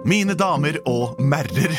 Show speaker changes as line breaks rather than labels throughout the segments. Mine damer og merrer.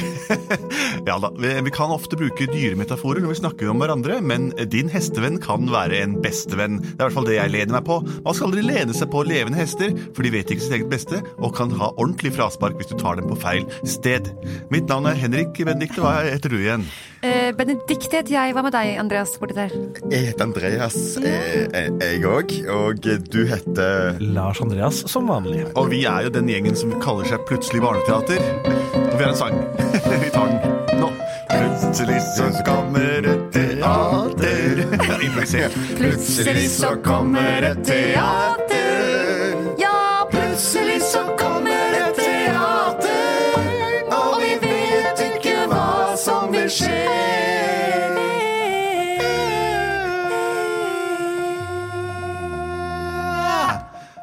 ja da, vi vi kan ofte bruke dyremetaforer når vi snakker om hverandre, men din hestevenn kan være en bestevenn. Det er i hvert fall det jeg lener meg på. Man skal aldri lene seg på levende hester, for de vet ikke sitt eget beste og kan ha ordentlig fraspark hvis du tar dem på feil sted. Mitt navn er Henrik Benedikte. Hva heter du igjen?
Eh, Benedikte heter jeg. Hva med deg, Andreas? borti der?
Jeg heter Andreas, eh, eh, jeg òg. Og du heter
Lars Andreas som vanlig.
Og vi er jo den gjengen som kaller seg Plutselig barneteater. Og vi har en sang. vi tar den nå. Plutselig så kommer et teater. Ja, Improvisert.
Plutselig så kommer et teater. Ja, plutselig så kommer et teater. Og vi vet ikke hva som vil skje.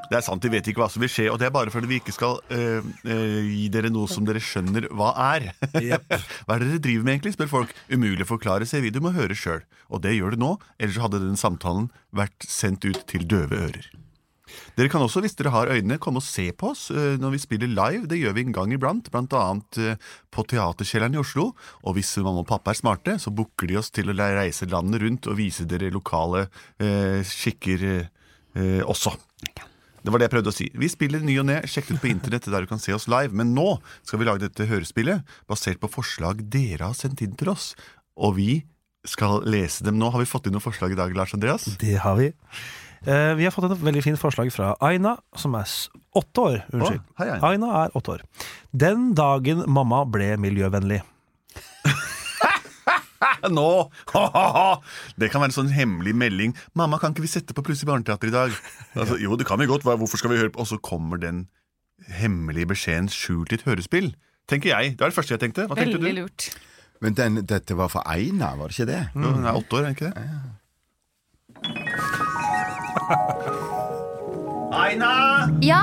Det er sant, de vet ikke hva som vil skje, og det er bare fordi vi ikke skal øh, øh, gi dere noe som dere skjønner hva er. hva er det dere driver med egentlig, spør folk. Umulig å forklare, ser vi. Du må høre sjøl. Og det gjør du nå, ellers så hadde den samtalen vært sendt ut til døve ører. Dere kan også, hvis dere har øynene, komme og se på oss eh, når vi spiller live. Det gjør vi en gang iblant, blant annet eh, på Teaterkjelleren i Oslo. Og hvis mamma og pappa er smarte, så booker de oss til å le- reise landet rundt og vise dere lokale eh, skikker eh, også. Det var det jeg prøvde å si. Vi spiller ny og ne, sjekk ut på internett der du kan se oss live. Men nå skal vi lage dette hørespillet basert på forslag dere har sendt inn til oss. Og vi skal lese dem nå. Har vi fått inn noen forslag i dag, Lars Andreas?
Det har vi. Eh, vi har fått et veldig fint forslag fra Aina, som er s- åtte år. Unnskyld.
Å, hei, Aina.
Aina er åtte år. Den dagen mamma ble miljøvennlig.
nå! Ha, ha, ha. Det kan være en sånn hemmelig melding. 'Mamma, kan ikke vi sette på Plutselig barneteater i dag?' Altså, jo, det kan vi godt. Hva- Hvorfor skal vi høre på? Og så kommer den hemmelige beskjeden skjult i et hørespill. Tenker jeg. Det var det første jeg tenkte. Hva tenkte
Veldig
du?
lurt.
Men den, dette var for Eina, var det ikke det?
Jo, Hun er åtte år, er hun ikke det? Aina!
Ja!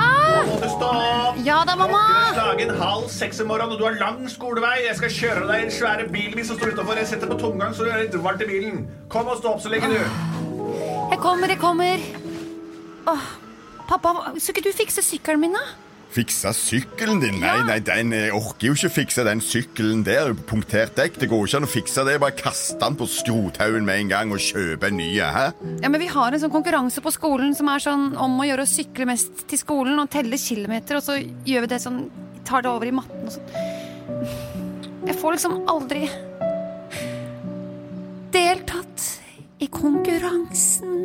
Må du stå opp?
Ja da, mamma!
Dagen halv seks om morgenen, og du har lang skolevei. Jeg skal kjøre deg i den svære bilen min som står utenfor. Jeg setter på tomgang så du er litt varmt i bilen. Kom og stå opp så lenge, du.
Jeg kommer, jeg kommer. Åh, pappa, skulle ikke du fikse sykkelen min, da?
Fiksa sykkelen din? Nei, nei, den, jeg orker jo ikke fikse den sykkelen der. Punktert dekk. Det går ikke an å fikse det. Bare kaste den på skrothaugen med en gang og kjøpe en ny. Hæ?
Ja, men Vi har en sånn konkurranse på skolen som er sånn om å gjøre å sykle mest til skolen og telle kilometer, og så gjør vi det sånn Tar det over i matten og sånn. Jeg får liksom aldri deltatt i konkurransen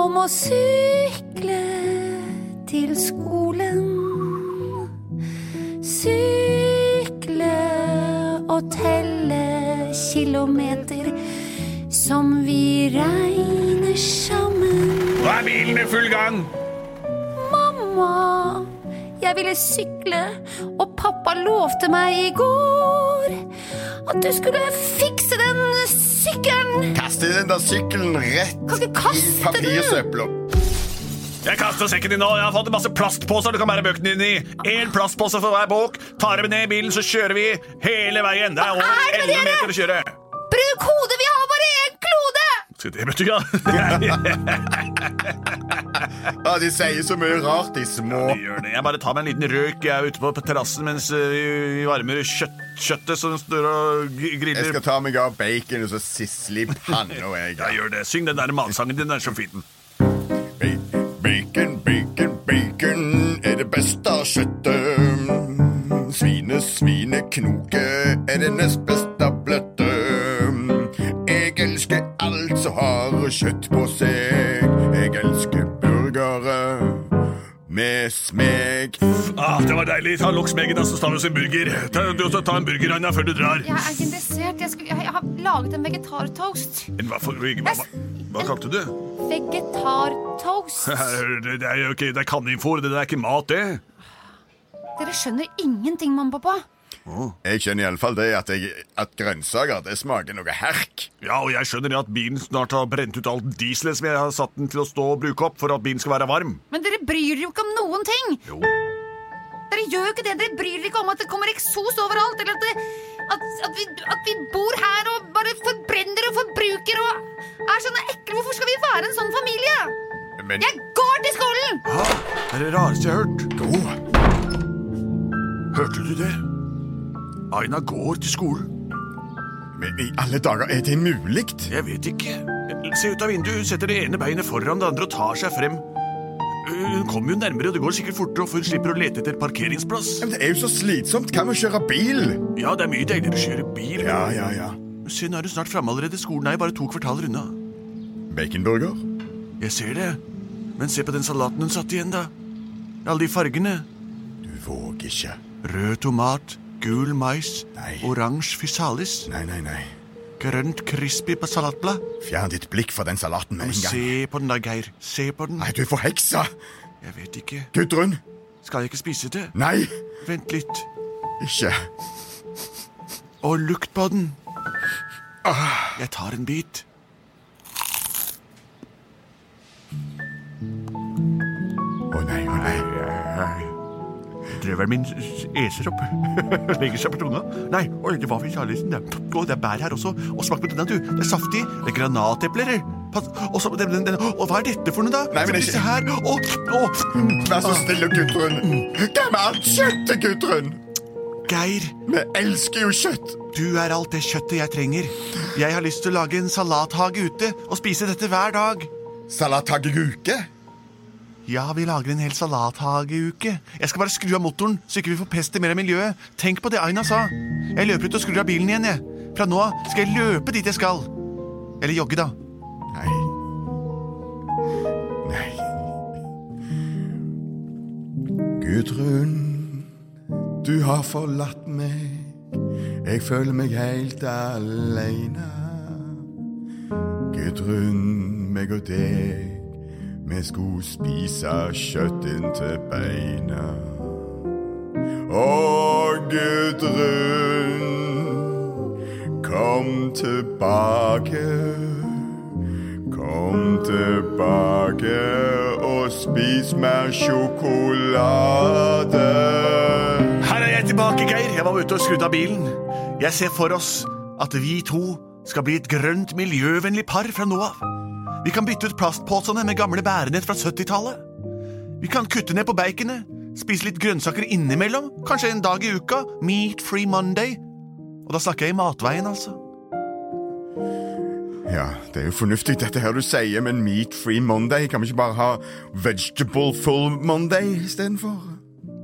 om å sykle til skolen. Sykle og telle kilometer som vi regner sammen.
Nå er bilen i full gang.
Mamma, jeg ville sykle, og pappa lovte meg i går at du skulle fikse den sykkelen.
Kaste den der sykkelen rett
Kan ikke kaste
i
den!
papirsøpla.
Jeg kaster sekken din nå. Jeg har fått en masse plastposer du kan bære bøkene dine i. Én plastpose for hver bok. Tar dem ned i bilen, så kjører vi hele veien. Det er
Hva
over
er det
11
dere-
meter å kjøre.
Bruk hodet, vi har bare én klode!
Skal det bety ja?
Ja, de sier så mye rart, de små.
Vi gjør det. Jeg bare tar meg en liten røyk. Jeg er ute på terrassen mens eh, vi varmer kjøtt, kjøttet som står og gr-
Jeg
griller.
skal ta meg av bacon og så sisle i panna, jeg.
Ja, gjør det. Syng den der matsangen din. Den er så fin.
Ba- Bacon, bacon, bacon er det beste av kjøttet. Svine, svineknoke er det nest beste bløtte. Jeg elsker alt som har kjøtt på seg. Jeg elsker burgere med smeg.
Ah, det var deilig. Ta Lukk smeggen, da, så tar vi oss en burger. Ta, du, også ta en burger, Anja, før du drar.
Jeg er ikke interessert. Jeg, skulle, jeg, jeg har laget en vegetartoast.
Men Hva, for, hva, hva, hva kalte du?
Vegetartoast.
Det er jo ikke, det er kaninfôr. Det er ikke mat, det.
Dere skjønner ingenting, mamma og pappa.
Jeg skjønner iallfall det at, jeg, at grønnsaker det smaker noe herk.
Ja, og jeg skjønner at bilen snart har brent ut all dieselen som jeg har satt den til å stå og bruke opp for at bilen skal være varm.
Men dere bryr dere jo ikke om noen ting!
Jo.
Dere gjør jo ikke det, dere bryr dere ikke om at det kommer eksos overalt, eller at, det, at, at, vi, at vi bor her og bare forbrenner og forbruker og er sånne ekle. Hvorfor skal vi være en sånn familie?
Men
Jeg går til skolen!
Hæ? Det er det rareste jeg har hørt.
god.
Hørte du det? Aina går til skolen.
Men i alle dager, er det mulig?
Jeg vet ikke. Se ut av vinduet. Hun setter det ene beinet foran det andre og tar seg frem. Hun kommer jo nærmere, og det går sikkert fortere, og hun slipper å lete etter parkeringsplass.
Men det er jo så slitsomt. Kan vi kjøre bil?
Ja, det er mye deiligere å kjøre bil.
Ja, ja, ja.
Se, nå er hun snart framme allerede. Skolen er jo bare to kvartaler unna.
Baconburger?
Jeg ser det. Men se på den salaten hun satte igjen, da. Alle de fargene.
Du våger ikke.
Rød tomat, gul mais,
Nei.
oransje fysalis,
Nei, nei, nei.
grønt crispy på salatblad.
Fjern ditt blikk fra den salaten med en gang.
Se på den da, Geir. Se på den.
Nei, du er forheksa!
Jeg vet ikke.
Gudrun!
Skal jeg ikke spise det?
Nei!
Vent litt.
Ikke.
Og lukt på den. Ah, Jeg tar en bit.
Å nei, å nei.
Drøvelen min eser opp. Legger seg på tunga. Nei, oi, det var fysalisen, det. Å, det er bær her også. Og smak på denne, du. Det er saftig. Det er granatepler. Pass. Og så, den, den, den. Å, hva er dette for noe, da?
Nei, men det er
Se på disse her. Å, å. mm.
Vær så snill, Gudrun. Hva med alt kjøttet, Gudrun?
Geir,
Vi elsker jo kjøtt.
du er alt det kjøttet jeg trenger. Jeg har lyst til å lage en salathage ute og spise dette hver dag.
Salathageuke?
Ja, vi lager en hel salathageuke. Jeg skal bare skru av motoren, så ikke vi forpester mer av miljøet. Tenk på det Aina sa. Jeg løper ut og skrur av bilen igjen, jeg. Fra nå av skal jeg løpe dit jeg skal. Eller jogge, da.
Nei. Nei. Gudrun, du har forlatt meg. Jeg føler meg helt aleine. Gudrun, meg og deg, vi skulle spise kjøtt inntil beina. Å, Gudrun, kom tilbake. Kom tilbake og spis mer sjokolade.
Her er jeg tilbake, Geir. Jeg var ute og skrudde av bilen. Jeg ser for oss at vi to skal bli et grønt, miljøvennlig par fra nå av. Vi kan bytte ut plastposene med gamle bærenett fra 70-tallet. Vi kan kutte ned på baconet, spise litt grønnsaker innimellom, kanskje en dag i uka. Meat free Monday. Og da snakker jeg i matveien, altså.
Ja, det er jo fornuftig dette her du sier, men meat free Monday, kan vi ikke bare ha vegetable full Monday istedenfor?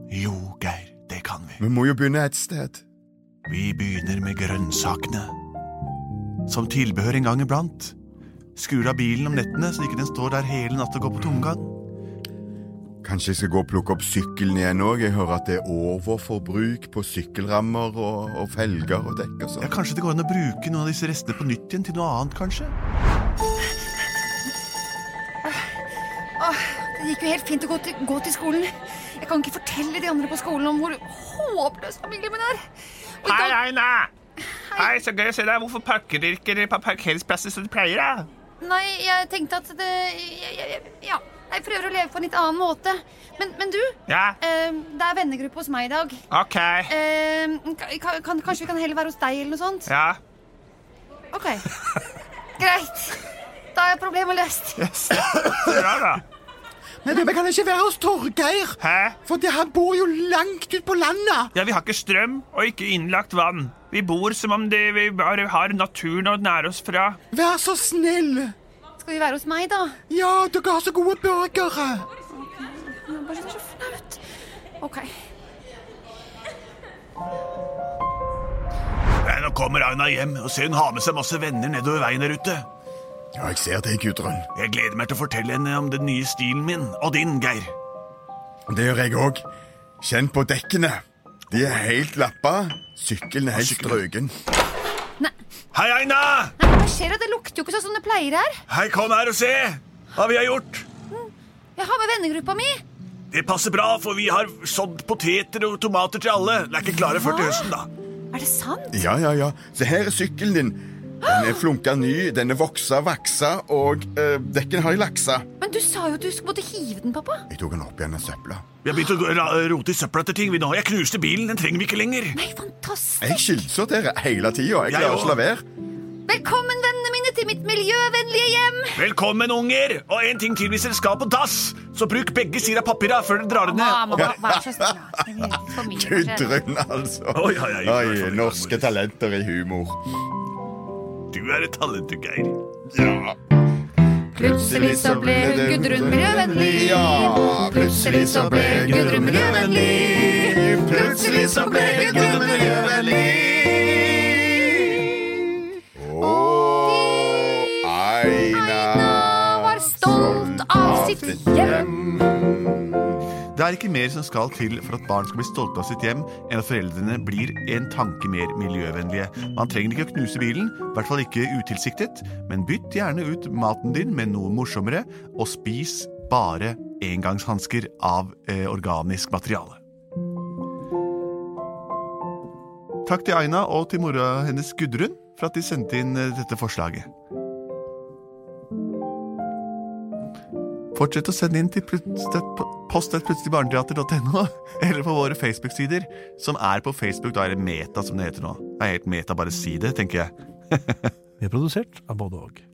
Jo, Geir, det kan vi.
Vi må jo begynne et sted.
Vi begynner med grønnsakene. Som tilbehør en gang iblant. Skrur av bilen om nettene så ikke den står der hele natta og går på tomgang.
Kanskje jeg skal gå og plukke opp sykkelen igjen òg. Jeg hører at det er overforbruk på sykkelrammer og, og felger og dekk og
Ja,
sånn.
Kanskje det går an å bruke noen av disse restene på nytt igjen til noe annet, kanskje?
Åh, det gikk jo helt fint å gå til, gå til skolen. Jeg kan ikke fortelle de andre på skolen om hvor håpløs familien min er. Og i
Hei,
dag-
Aina! Hei, så gøy å se deg. Hvorfor parker dere ikke på parkeringsplasser som du pleier? da?
Nei, jeg tenkte at det jeg, jeg, jeg, Ja. Jeg prøver å leve på en litt annen måte. Men, men du,
Ja,
eh, det er vennegruppe hos meg i dag.
ok.
Eh, kan, kan, kanskje vi kan heller være hos deg, eller noe sånt?
Ja.
Ok. Greit. Da er problemet løst.
Bra, da.
Men vi kan ikke være hos Torgeir,
Hæ?
for det- han bor jo langt ut på landet.
Ja, vi har ikke strøm og ikke innlagt vann. Vi bor som om det, vi bare har naturen å nære oss fra.
Vær så snill.
Skal vi være hos meg, da?
Ja, dere har så gode burgere.
Det er bare så flaut. Ok.
Nei, nå kommer Aina hjem, og se hun har med seg masse venner nedover veien der ute.
Ja, jeg ser det, Gudrun.
Jeg gleder meg til å fortelle henne om den nye stilen min, og din, Geir.
Det gjør jeg òg. Kjenn på dekkene. De er helt lappa. Sykkelen er helt strøken.
Hei, Aina!
Nei, hva skjer? Det lukter jo ikke sånn som det pleier her.
Hei, kom her og se hva vi har gjort.
Jeg har med vennegruppa mi.
Det passer bra, for vi har sådd poteter og tomater til alle. Det er ikke klare før til høsten, da.
Er det sant?
Ja, ja, ja. Se, her er sykkelen din. Den er flunka ny, den er voksa, vaksa, og eh, dekken har jeg laksa.
Men du sa jo at du sk- måtte hive den, pappa.
Jeg tok den opp igjen av søpla.
Vi har begynt å ra- rote i søpla etter ting. vi nå. Jeg knuste bilen, den trenger vi ikke lenger.
Nei, fantastisk.
Jeg skilser dere hele tida.
Jeg
Jeg klarer ikke
også.
å la være.
Velkommen, vennene mine, til mitt miljøvennlige hjem.
Velkommen, unger! Og en ting til hvis dere skal på dass, så bruk begge sider av papira før dere drar det ned.
Mamma, vær så snill.
Gudrun, altså.
Oi, oi, oi.
Oi, norske talenter i humor.
Du er et talent, du, Geir.
Ja.
Plutselig så ble Gudrun miljøvennlig.
Ja,
Plutselig så ble Gudrun miljøvennlig. Plutselig så ble Gudrun miljøvennlig.
Og
Aina var stolt av sitt hjem.
Det er ikke mer som skal til for at barn skal bli stolte av sitt hjem, enn at foreldrene blir en tanke mer miljøvennlige. Man trenger ikke å knuse bilen, i hvert fall ikke utilsiktet, men bytt gjerne ut maten din med noe morsommere, og spis bare engangshansker av eh, organisk materiale. Takk til Aina og til mora hennes Gudrun for at de sendte inn eh, dette forslaget. Fortsett å sende inn til postetplutseligbarneteater.no, eller på våre Facebook-sider, som er på Facebook, da er det Meta, som det heter nå. Det er helt Meta, bare si det, tenker jeg.
Vi er produsert av både og.